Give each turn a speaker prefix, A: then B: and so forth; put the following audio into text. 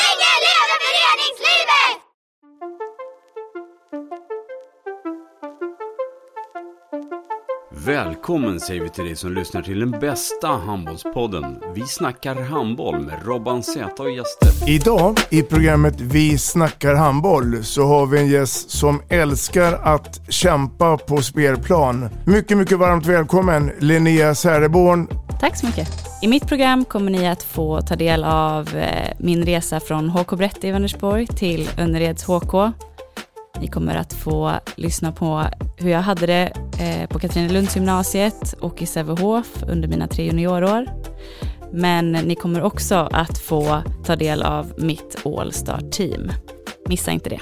A: Länge leve föreningslivet!
B: Välkommen säger vi till dig som lyssnar till den bästa handbollspodden. Vi snackar handboll med Robban Z och gäster.
C: Idag i programmet Vi snackar handboll så har vi en gäst som älskar att kämpa på spelplan. Mycket, mycket varmt välkommen Linnea Säreborn.
D: Tack så mycket. I mitt program kommer ni att få ta del av eh, min resa från HK Brette i Vänersborg till Önnereds HK. Ni kommer att få lyssna på hur jag hade det eh, på Katrinelundsgymnasiet och i Sävehof under mina tre juniorår. Men ni kommer också att få ta del av mitt All-star-team. Missa inte det.